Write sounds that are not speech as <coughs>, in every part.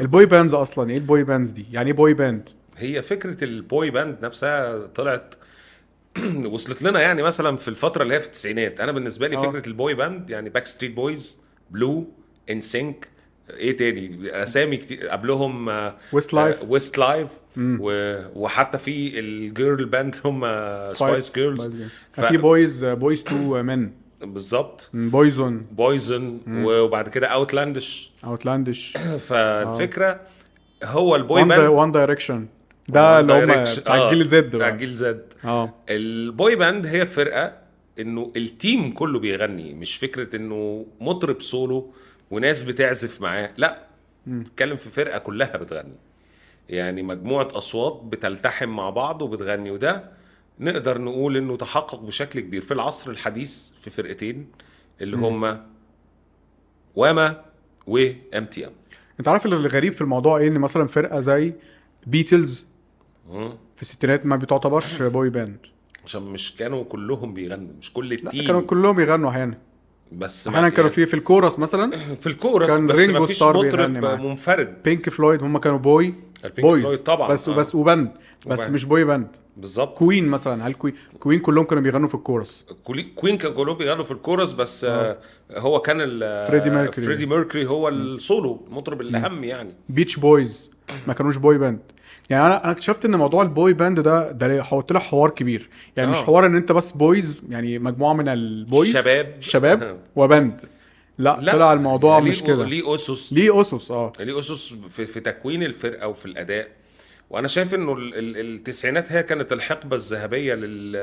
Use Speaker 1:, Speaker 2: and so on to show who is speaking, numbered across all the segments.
Speaker 1: البوي باندز اصلا ايه البوي باندز دي يعني ايه بوي باند
Speaker 2: هي فكره البوي باند نفسها طلعت <clears throat> وصلت لنا يعني مثلا في الفتره اللي هي في التسعينات انا بالنسبه لي
Speaker 1: آه.
Speaker 2: فكره البوي باند يعني باك ستريت بويز بلو ان سينك ايه تاني اسامي كتير قبلهم آه،
Speaker 1: Westlife.
Speaker 2: ويست لايف وحتى في الجيرل باند هم آه، سبايس جيرلز
Speaker 1: يعني في بويز آه، بويز تو مين
Speaker 2: بالظبط
Speaker 1: بويزون
Speaker 2: بويزن وبعد كده اوتلاندش
Speaker 1: اوتلاندش آه.
Speaker 2: فالفكره هو البوي
Speaker 1: وان
Speaker 2: باند
Speaker 1: وان دايركشن ده اللي هم
Speaker 2: Direction-
Speaker 1: بتاع
Speaker 2: آه،
Speaker 1: الجيل زد
Speaker 2: بتاع
Speaker 1: بقى.
Speaker 2: الجيل زد
Speaker 1: اه
Speaker 2: البوي باند هي فرقه انه التيم كله بيغني مش فكره انه مطرب سولو وناس بتعزف معاه لا بتتكلم في فرقه كلها بتغني يعني مجموعه اصوات بتلتحم مع بعض وبتغني وده نقدر نقول انه تحقق بشكل كبير في العصر الحديث في فرقتين اللي هما واما وام تي ام
Speaker 1: انت عارف اللي غريب في الموضوع ايه ان مثلا فرقه زي بيتلز في الستينات ما بتعتبرش بوي باند
Speaker 2: عشان مش كانوا كلهم بيغنوا مش كل
Speaker 1: لا
Speaker 2: التيم
Speaker 1: كانوا كلهم يغنوا احيانا
Speaker 2: بس ما-
Speaker 1: احيانا كانوا
Speaker 2: يعني-
Speaker 1: في في الكورس مثلا
Speaker 2: <coughs> في الكورس
Speaker 1: كان
Speaker 2: بس
Speaker 1: رينجو
Speaker 2: ما فيش
Speaker 1: ستار
Speaker 2: مطرب
Speaker 1: بيغني معاه.
Speaker 2: منفرد
Speaker 1: بينك فلويد هم كانوا بوي
Speaker 2: البينك
Speaker 1: بويز
Speaker 2: فلويد طبعا،
Speaker 1: بس
Speaker 2: آه.
Speaker 1: بس وباند بس
Speaker 2: وباند.
Speaker 1: مش بوي باند
Speaker 2: بالظبط
Speaker 1: كوين مثلا هل كوين كوين كلهم كانوا بيغنوا في الكورس
Speaker 2: كولي- كوين كان كلهم بيغنوا في الكورس بس آه، هو كان ال-
Speaker 1: فريدي
Speaker 2: آه،
Speaker 1: ميركوري.
Speaker 2: فريدي ميركوري هو السولو المطرب الاهم يعني
Speaker 1: بيتش بويز ما كانوش بوي باند يعني انا انا اكتشفت ان موضوع البوي باند ده ده حط له حوار كبير يعني مش
Speaker 2: آه.
Speaker 1: حوار ان انت بس بويز يعني مجموعه من البويز
Speaker 2: شباب. <laughs>
Speaker 1: شباب وبند لا,
Speaker 2: لا، يعني
Speaker 1: طلع الموضوع
Speaker 2: ليه-
Speaker 1: مش كده
Speaker 2: ليه اسس
Speaker 1: ليه اسس اه
Speaker 2: ليه اسس في, في تكوين الفرقه وفي الاداء وانا شايف انه ال- ال- التسعينات هي كانت الحقبه الذهبيه لل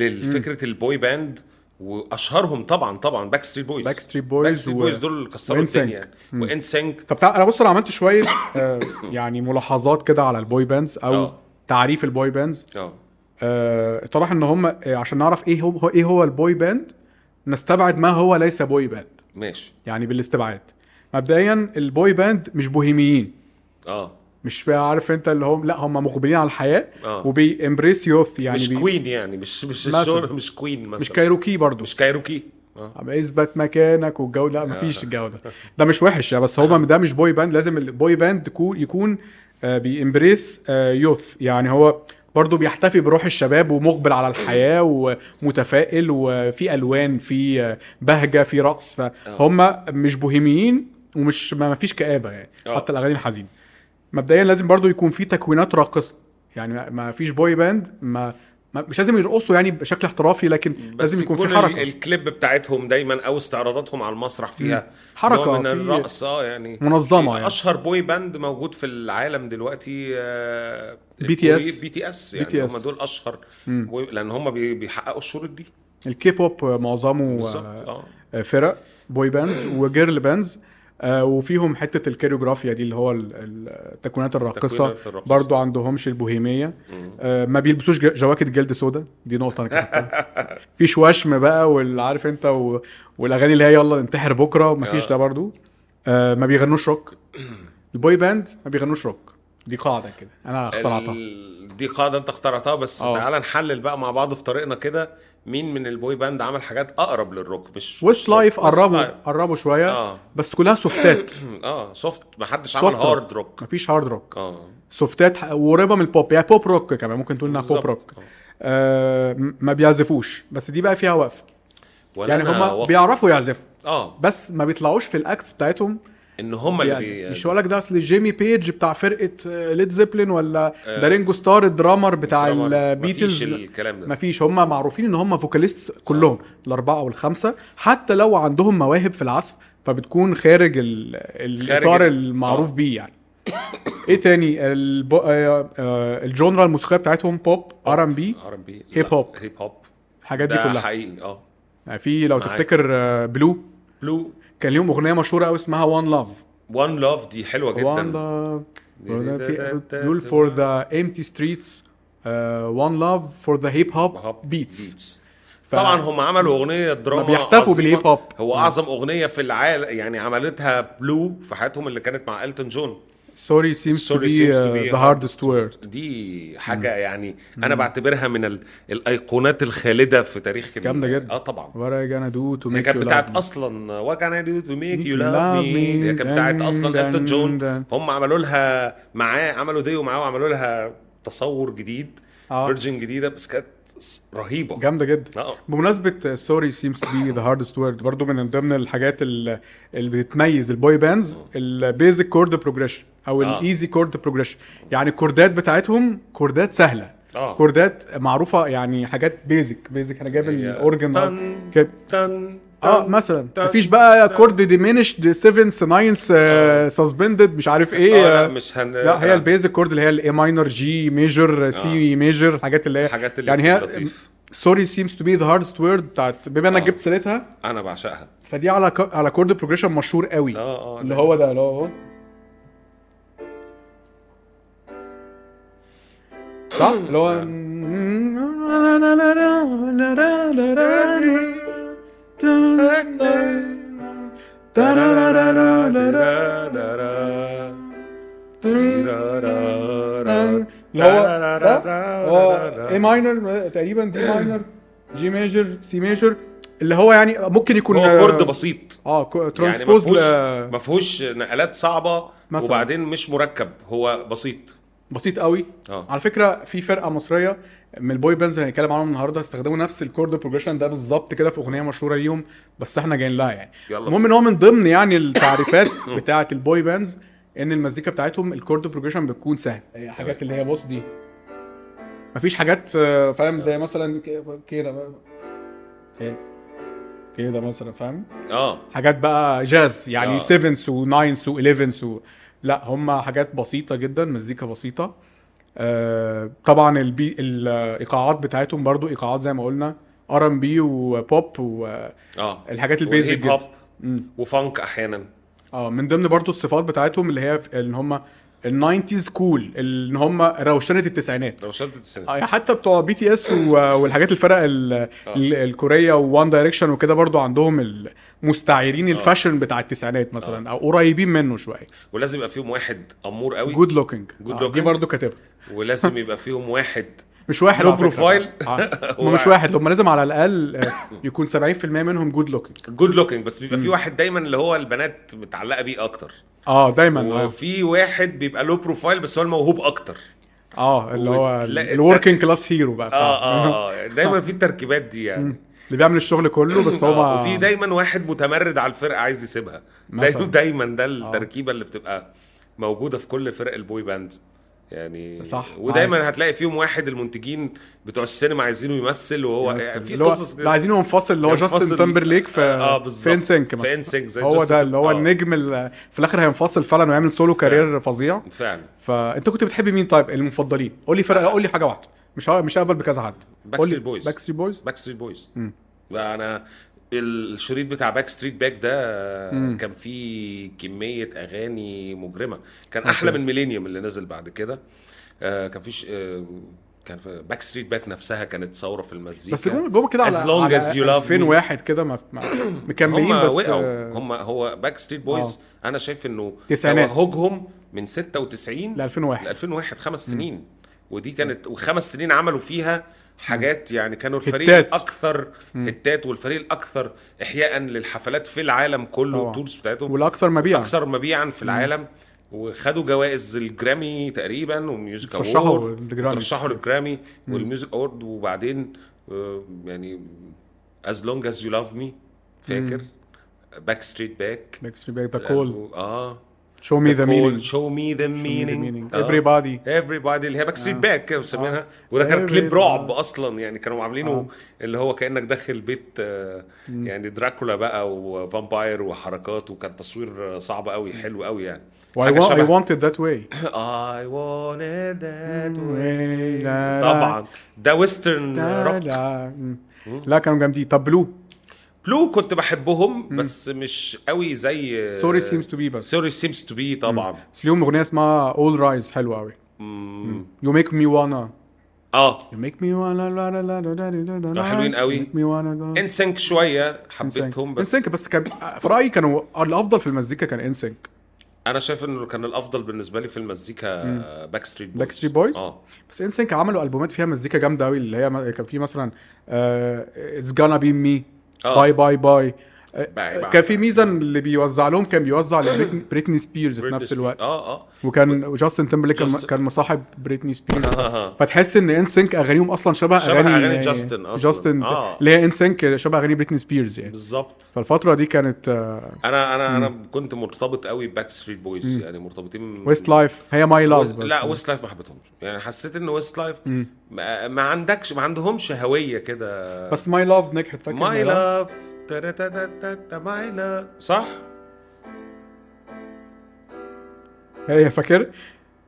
Speaker 2: لفكره البوي باند واشهرهم طبعا طبعا باك ستريت بويز
Speaker 1: Backstreet Boys
Speaker 2: باك ستريت
Speaker 1: و-
Speaker 2: بويز دول اللي كسروا
Speaker 1: وإنسينك.
Speaker 2: الدنيا وان سينك
Speaker 1: طب تعال انا بص انا عملت شويه آه يعني ملاحظات كده على البوي باندز او
Speaker 2: آه.
Speaker 1: تعريف البوي باندز
Speaker 2: اه
Speaker 1: آه، اتضح ان هم آه، عشان نعرف ايه هو ايه هو البوي باند نستبعد ما هو ليس بوي باند
Speaker 2: ماشي
Speaker 1: يعني بالاستبعاد مبدئيا البوي باند مش بوهيميين
Speaker 2: اه
Speaker 1: مش بقى عارف انت اللي هم لا هم مغبنين على الحياه
Speaker 2: آه.
Speaker 1: وبيمبريس يوث يعني
Speaker 2: مش
Speaker 1: بي-
Speaker 2: كوين يعني مش مش
Speaker 1: مثلا.
Speaker 2: الشهرة مش كوين مثلا
Speaker 1: مش كايروكي برضو
Speaker 2: مش كايروكي اه
Speaker 1: أما اثبت مكانك والجو لا مفيش
Speaker 2: آه.
Speaker 1: الجو ده ده مش وحش يعني بس هو ده مش بوي باند لازم البوي باند تكون- يكون آه، بيمبريس آه، يوث يعني هو برضه بيحتفي بروح الشباب ومقبل على الحياه ومتفائل وفي الوان في آه، بهجه في رقص
Speaker 2: آه.
Speaker 1: فهم مش بوهيميين ومش ما فيش كآبه يعني
Speaker 2: آه.
Speaker 1: حتى الاغاني الحزينه مبدئيا لازم برضه يكون في تكوينات راقصه يعني ما- ما فيش بوي باند ما ما- مش لازم يرقصوا يعني بشكل احترافي لكن
Speaker 2: بس
Speaker 1: لازم يكون في
Speaker 2: ال-
Speaker 1: حركه
Speaker 2: الكليب بتاعتهم دايما او استعراضاتهم على المسرح فيها
Speaker 1: حركة،
Speaker 2: نوع من
Speaker 1: في-
Speaker 2: الرقص اه يعني
Speaker 1: منظمة يعني.
Speaker 2: اشهر بوي باند موجود في العالم دلوقتي آه
Speaker 1: BTS.
Speaker 2: بي تي اس يعني
Speaker 1: BTS.
Speaker 2: هم دول اشهر بوي لان هم بي- بيحققوا الشروط دي
Speaker 1: الكي بوب معظمه
Speaker 2: بالظبط
Speaker 1: آه،
Speaker 2: اه
Speaker 1: فرق بوي باندز وجيرل باندز آه، وفيهم حته الكوريوغرافيا دي اللي هو ال- ال- التكوينات الراقصه
Speaker 2: التكوينات الراقصة.
Speaker 1: برضو عندهمش البوهيميه آه، ما بيلبسوش ج- جواكت جلد سودا دي نقطه انا كتبتها في شواشم بقى والعارف انت و... والاغاني اللي هي يلا ننتحر بكره ما فيش
Speaker 2: آه.
Speaker 1: ده برضو آه، ما بيغنوش
Speaker 2: <clears throat>
Speaker 1: روك البوي باند ما بيغنوش روك دي قاعده كده انا اخترعتها
Speaker 2: ال- دي قاعده انت اخترعتها بس
Speaker 1: آه.
Speaker 2: تعالى نحلل بقى مع بعض في طريقنا كده مين من البوي باند عمل حاجات اقرب للروك مش
Speaker 1: ويست
Speaker 2: مش-
Speaker 1: لايف
Speaker 2: Westlife.
Speaker 1: قربوا
Speaker 2: <clears throat>
Speaker 1: قربوا شويه
Speaker 2: آه.
Speaker 1: بس كلها سوفتات
Speaker 2: اه سوفت محدش عمل
Speaker 1: سوفت روك.
Speaker 2: هارد روك
Speaker 1: مفيش هارد روك
Speaker 2: اه
Speaker 1: سوفتات ح- وقريبه من البوب يعني بوب روك كمان ممكن تقول انها بوب
Speaker 2: بالظبط.
Speaker 1: روك
Speaker 2: آه.
Speaker 1: آه م- ما بيعزفوش بس دي بقى فيها وقفه
Speaker 2: ولا
Speaker 1: يعني
Speaker 2: أنا
Speaker 1: هم
Speaker 2: واقف-
Speaker 1: بيعرفوا يعزفوا
Speaker 2: اه
Speaker 1: بس ما بيطلعوش في الاكتس بتاعتهم
Speaker 2: ان هم اللي
Speaker 1: بيعزفوا.
Speaker 2: بي...
Speaker 1: مش هقول لك ده اصل جيمي بيج بتاع فرقه ليد زيبلين ولا ده رينجو ستار الدرامر بتاع
Speaker 2: آه. الدرامر.
Speaker 1: البيتلز
Speaker 2: مفيش الكلام ده.
Speaker 1: مفيش هم معروفين ان هم فوكاليست كلهم الاربعه والخمسه حتى لو عندهم مواهب في العزف فبتكون خارج ال... الاطار
Speaker 2: ال- آه.
Speaker 1: المعروف بيه يعني ايه تاني الب... آه، آه، الجونرا الموسيقيه بتاعتهم بوب ار ام بي
Speaker 2: ار ام بي
Speaker 1: هيب هوب.
Speaker 2: هيب هوب
Speaker 1: الحاجات دي
Speaker 2: ده
Speaker 1: كلها
Speaker 2: حقيقي اه
Speaker 1: يعني في لو
Speaker 2: معاك.
Speaker 1: تفتكر آه، بلو
Speaker 2: بلو
Speaker 1: كان ليهم اغنيه مشهوره قوي اسمها وان لاف
Speaker 2: وان لاف دي حلوه
Speaker 1: وان
Speaker 2: جدا
Speaker 1: لاف
Speaker 2: دي-
Speaker 1: في
Speaker 2: دي- دي-
Speaker 1: دول
Speaker 2: دي-
Speaker 1: فور ذا امتي ستريتس وان لاف فور ذا هيب هوب
Speaker 2: هوب
Speaker 1: بيتس
Speaker 2: beats. طبعا هم عملوا اغنيه دراما
Speaker 1: بيحتفوا
Speaker 2: عظيمة.
Speaker 1: بالهيب هوب.
Speaker 2: هو اعظم اغنيه في العالم يعني عملتها بلو في حياتهم اللي كانت مع التون جون
Speaker 1: سوري سيمز تو
Speaker 2: Sorry
Speaker 1: بي
Speaker 2: seems to
Speaker 1: ذا
Speaker 2: be a
Speaker 1: هاردست وورد
Speaker 2: دي حاجه يعني انا بعتبرها من ال... الايقونات الخالده في تاريخ ال-
Speaker 1: جامدة جدا.
Speaker 2: اه طبعا
Speaker 1: وات اي جانا دو تو
Speaker 2: هي
Speaker 1: ميك
Speaker 2: كانت بتاعت اصلا وات كان اي دو تو ميك يو لاف مي هي كانت بتاعت اصلا التون جون هم عملوا لها معاه عملوا ديو معاه وعملوا لها تصور جديد
Speaker 1: آه.
Speaker 2: فيرجن جديده بس كانت س- رهيبه
Speaker 1: جامده جدا
Speaker 2: اه
Speaker 1: بمناسبه سوري سيمز تو بي ذا هاردست وورد برضو من ضمن الحاجات ال- اللي بتميز البوي باندز البيزك كورد بروجريشن او
Speaker 2: آه.
Speaker 1: الايزي كورد بروجريشن يعني الكوردات بتاعتهم كوردات سهله
Speaker 2: اه
Speaker 1: كوردات معروفه يعني حاجات بيزك بيزك انا جايب
Speaker 2: هي
Speaker 1: الاورجن
Speaker 2: طن-
Speaker 1: كده
Speaker 2: طن-
Speaker 1: اه
Speaker 2: طن-
Speaker 1: مثلا
Speaker 2: طن-
Speaker 1: مفيش بقى كورد ديمينشد 7 9 سسبندد آه، مش عارف ايه
Speaker 2: اه لا
Speaker 1: آه،
Speaker 2: مش هن
Speaker 1: لا هي
Speaker 2: آه،
Speaker 1: البيزك كورد اللي هي الاي ماينر جي ميجر سي ميجر الحاجات اللي هي
Speaker 2: الحاجات اللي
Speaker 1: يعني
Speaker 2: في
Speaker 1: هي
Speaker 2: اللطيف.
Speaker 1: سوري سيمز تو بي ذا هاردست وورد بتاعت بما انا
Speaker 2: آه.
Speaker 1: جبت سيرتها
Speaker 2: انا بعشقها
Speaker 1: فدي على ك- على كورد بروجريشن مشهور قوي
Speaker 2: اه اه
Speaker 1: اللي
Speaker 2: لا.
Speaker 1: هو ده اللي هو هو. صح اللي
Speaker 2: آه.
Speaker 1: <laughs> هو
Speaker 2: آه،
Speaker 1: اللي آه، هو ده هو آه، اي ماينر تقريبا دي ماينر جي ميجر سي ميجر اللي هو يعني ممكن يكون آه،
Speaker 2: هو كورد بسيط
Speaker 1: اه
Speaker 2: يعني ما
Speaker 1: ترانسبوز
Speaker 2: فيهوش ما فيهوش نقلات صعبه
Speaker 1: مثلاً.
Speaker 2: وبعدين مش مركب هو بسيط
Speaker 1: بسيط قوي
Speaker 2: اه.
Speaker 1: على فكره في فرقه مصريه من البوي باندز اللي هنتكلم عنهم النهارده استخدموا نفس الكورد بروجريشن ده بالظبط كده في اغنيه مشهوره ليهم بس احنا جايين لها يعني
Speaker 2: يلا
Speaker 1: المهم ان هو من ضمن يعني التعريفات <coughs> بتاعه البوي باندز ان المزيكا بتاعتهم الكورد بروجريشن بتكون سهل حاجات اللي هي بص دي مفيش حاجات آه، فاهم زي مثلا ك- كده بقى. كده كده مثلا فاهم
Speaker 2: اه
Speaker 1: حاجات بقى جاز يعني
Speaker 2: آه.
Speaker 1: 7 و 9 و 11 و لا هم حاجات بسيطه جدا مزيكا بسيطه آه طبعا البي الايقاعات بتاعتهم برضو ايقاعات زي ما قلنا ار ام بي وبوب والحاجات
Speaker 2: اه
Speaker 1: البيزك
Speaker 2: والهيب
Speaker 1: جدا
Speaker 2: هوب
Speaker 1: مم.
Speaker 2: وفانك احيانا
Speaker 1: اه من ضمن برضو الصفات بتاعتهم اللي هي في- ان هم الناينتيز كول ان هم روشنه التسعينات
Speaker 2: لو شلت السنه
Speaker 1: آه، حتى بتوع بي تي اس والحاجات الفرق ال- ال- الكوريه وان دايركشن وكده برضو عندهم المستعيرين الفاشن بتاع التسعينات مثلا او قريبين منه شويه
Speaker 2: ولازم يبقى فيهم واحد امور قوي
Speaker 1: جود لوكينج
Speaker 2: Good
Speaker 1: آه، دي
Speaker 2: looking.
Speaker 1: برضو كاتبها
Speaker 2: ولازم يبقى فيهم واحد
Speaker 1: مش واحد
Speaker 2: No
Speaker 1: على فكرة.
Speaker 2: profile.
Speaker 1: آه،
Speaker 2: <laughs> هو
Speaker 1: هم مش واحد هم لازم على الاقل آه، يكون 70% منهم جود لوكينج
Speaker 2: جود لوكينج بس بيبقى في واحد دايما اللي هو البنات متعلقه بيه اكتر
Speaker 1: اه دايما آه.
Speaker 2: وفي واحد بيبقى له بروفايل بس هو الموهوب اكتر
Speaker 1: اه اللي هو
Speaker 2: وتلاقي-
Speaker 1: الوركينج كلاس هيرو بقى
Speaker 2: اه
Speaker 1: بتاعهم.
Speaker 2: اه آه. دايما في التركيبات دي يعني
Speaker 1: اللي بيعمل الشغل كله بس هو
Speaker 2: آه،
Speaker 1: ما-
Speaker 2: وفي دايما واحد متمرد على الفرقه عايز يسيبها
Speaker 1: مثلاً. اه.
Speaker 2: دايما دايما ده التركيبه اللي بتبقى موجوده في كل فرق البوي باند يعني
Speaker 1: صح،
Speaker 2: ودايما هتلاقي فيهم واحد المنتجين بتوع السينما عايزينه يمثل وهو يعني في
Speaker 1: اللي هو-
Speaker 2: قصص
Speaker 1: اللي عايزينه منفصل اللي هو
Speaker 2: ينفصل-
Speaker 1: جاستن تمبرليك في
Speaker 2: آه،
Speaker 1: في
Speaker 2: بالظبط.
Speaker 1: انسينك
Speaker 2: في NSYNC زي
Speaker 1: هو
Speaker 2: Justin-
Speaker 1: ده اللي هو
Speaker 2: آه.
Speaker 1: النجم ال- في الاخر هينفصل فعلا ويعمل سولو كارير فظيع
Speaker 2: فعلا
Speaker 1: فانت كنت بتحب مين طيب المفضلين قول لي فرقه قول لي حاجه واحده مش ه- مش هقبل بكذا حد
Speaker 2: Backstreet Boys.
Speaker 1: باك ستريت بويز
Speaker 2: باك ستريت بويز بقى انا الشريط بتاع باك ستريت باك ده كان فيه كميه اغاني مجرمه كان احلى من ميلينيوم اللي نزل بعد كده آه كان فيش آه كان باك ستريت باك نفسها كانت ثوره في المزيكا
Speaker 1: بس جوه جوه كده
Speaker 2: As
Speaker 1: على
Speaker 2: long
Speaker 1: على
Speaker 2: as you love
Speaker 1: 2000
Speaker 2: me.
Speaker 1: واحد كده ما- ما- مكملين
Speaker 2: هم
Speaker 1: بس
Speaker 2: وقعوا
Speaker 1: آه،
Speaker 2: هم هو باك ستريت بويز انا شايف انه
Speaker 1: تسعينات.
Speaker 2: توهجهم من 96
Speaker 1: ل 2001.
Speaker 2: ل 2001 خمس سنين ودي كانت وخمس سنين عملوا فيها حاجات يعني كانوا الفريق
Speaker 1: هتات.
Speaker 2: الاكثر هتات والفريق الاكثر احياء للحفلات في العالم كله
Speaker 1: طبعاً.
Speaker 2: التورز بتاعتهم
Speaker 1: والاكثر مبيعا
Speaker 2: اكثر مبيعا في العالم وخدوا جوائز الجرامي تقريبا وميوزك
Speaker 1: اترشحوا
Speaker 2: اوورد
Speaker 1: للجرامي.
Speaker 2: ترشحوا للجرامي والميوزك اوورد وبعدين آه، يعني از لونج از يو لاف مي فاكر باك ستريت باك
Speaker 1: باك ستريت باك ذا كول
Speaker 2: اه
Speaker 1: شو مي ذا مينينج
Speaker 2: شو مي ذا مينينج
Speaker 1: مينينج
Speaker 2: آه.
Speaker 1: everybody
Speaker 2: everybody اللي هي باك ستريت باك كانوا مسمينها وده كان كليب
Speaker 1: آه. Everybody. آه.
Speaker 2: رعب اصلا يعني كانوا عاملينه اللي هو كانك داخل بيت آه، يعني دراكولا بقى وفامباير وحركات وكان تصوير آه، صعب قوي حلو قوي يعني
Speaker 1: واي
Speaker 2: حاجة شبه-
Speaker 1: want it that way
Speaker 2: I wanted that
Speaker 1: way.
Speaker 2: way
Speaker 1: لا لا.
Speaker 2: طبعا ده ويسترن
Speaker 1: لا
Speaker 2: روك
Speaker 1: لا Mm.
Speaker 2: Mm.
Speaker 1: لا كانوا جامدين طب بلو
Speaker 2: بلو كنت بحبهم بس مش قوي زي آه،
Speaker 1: سوري سيمز تو بي بس
Speaker 2: سوري سيمز تو بي طبعا
Speaker 1: بس ليهم اغنيه اسمها اول رايز حلوه قوي
Speaker 2: Mm.
Speaker 1: يو ميك مي وانا
Speaker 2: اه
Speaker 1: يو ميك مي وانا لا لا لا لا لا لا
Speaker 2: حلوين قوي.
Speaker 1: ميك مي وانا
Speaker 2: انسينك شويه حبيتهم بس
Speaker 1: انسينك بس كان في رايي كانوا الافضل في المزيكا كان انسينك
Speaker 2: انا شايف انه كان الافضل بالنسبه لي في المزيكا باك ستريت بويز
Speaker 1: باك ستريت بويز
Speaker 2: اه
Speaker 1: بس انسينك عملوا البومات فيها مزيكا جامده قوي اللي هي م- كان في مثلا اتس جانا بي مي
Speaker 2: آه.
Speaker 1: باي باي باي
Speaker 2: باي باي.
Speaker 1: آه، كان في ميزان اللي بيوزع لهم كان بيوزع
Speaker 2: <coughs>
Speaker 1: لبريتني سبيرز في
Speaker 2: بريتني
Speaker 1: نفس
Speaker 2: سبيرز.
Speaker 1: الوقت
Speaker 2: اه اه
Speaker 1: وكان جاستن تمبرليك كان-
Speaker 2: جاستن-
Speaker 1: كان مصاحب بريتني سبيرز
Speaker 2: آه، آه.
Speaker 1: فتحس ان انسينك اغانيهم اصلا شبه,
Speaker 2: شبه أغاني جاستن أصلاً.
Speaker 1: جاستن
Speaker 2: آه.
Speaker 1: اللي هي انسينك شبه اغاني بريتني سبيرز يعني
Speaker 2: بالظبط
Speaker 1: فالفتره دي كانت آه،
Speaker 2: انا انا انا كنت مرتبط قوي باك ستريت بويز يعني مرتبطين
Speaker 1: ويست لايف هي ماي
Speaker 2: ويست-
Speaker 1: لاف
Speaker 2: لا ويست لايف ما حبيتهمش يعني حسيت ان ويست لايف ما, ما عندكش ما عندهمش هويه كده
Speaker 1: بس ماي لاف نجحت فاكر
Speaker 2: ماي
Speaker 1: My Love؟
Speaker 2: لاف ماي لاف صح
Speaker 1: هي فاكر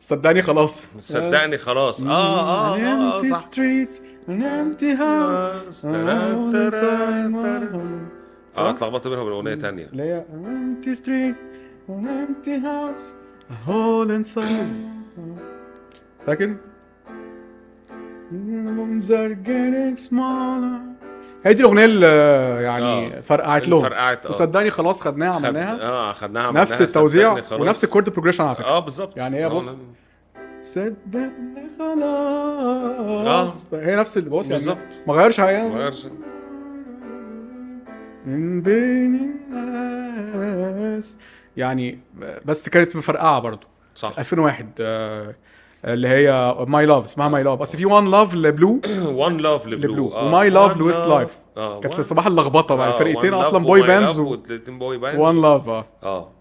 Speaker 1: صدقني خلاص
Speaker 2: صدقني خلاص اه اه اه, آه
Speaker 1: An empty
Speaker 2: صح آه،
Speaker 1: street, an empty house,
Speaker 2: House.
Speaker 1: and I wanna sign my home.
Speaker 2: اه
Speaker 1: صح؟
Speaker 2: اتلخبطت بينها بالاغنيه تانية
Speaker 1: اللي هي an empty street, an empty house, a hole inside. فاكر؟ Rooms are getting smaller. هي دي الاغنيه اللي يعني
Speaker 2: آه.
Speaker 1: فرقعت
Speaker 2: اللي
Speaker 1: لهم
Speaker 2: فرقعت، آه.
Speaker 1: وصدقني خلاص خدناها
Speaker 2: خد-
Speaker 1: عملناها
Speaker 2: اه خدناها
Speaker 1: نفس
Speaker 2: عملناها،
Speaker 1: التوزيع
Speaker 2: صدقني خلاص.
Speaker 1: ونفس الكورد بروجريشن على فكره
Speaker 2: اه بالظبط
Speaker 1: يعني هي
Speaker 2: آه،
Speaker 1: بص،
Speaker 2: أنا-
Speaker 1: صدقني خلاص هي نفس اللي بص
Speaker 2: آه. بالظبط.
Speaker 1: يعني ما غيرش حاجه
Speaker 2: ما غيرش.
Speaker 1: من بين الناس يعني بس كانت مفرقعه برضو
Speaker 2: صح
Speaker 1: 2001 آه، اللي هي ماي لاف اسمها ماي لاف اصل في وان لاف لبلو
Speaker 2: وان لاف لبلو
Speaker 1: لبلو وماي
Speaker 2: Ah,
Speaker 1: لاف لويست لايف
Speaker 2: كانت
Speaker 1: كانت صباح اللخبطه بقى
Speaker 2: آه،
Speaker 1: الفرقتين
Speaker 2: One Love
Speaker 1: اصلا
Speaker 2: و
Speaker 1: بوي
Speaker 2: My Love
Speaker 1: باندز
Speaker 2: والاتنين بوي باندز
Speaker 1: وان لاف اه
Speaker 2: اه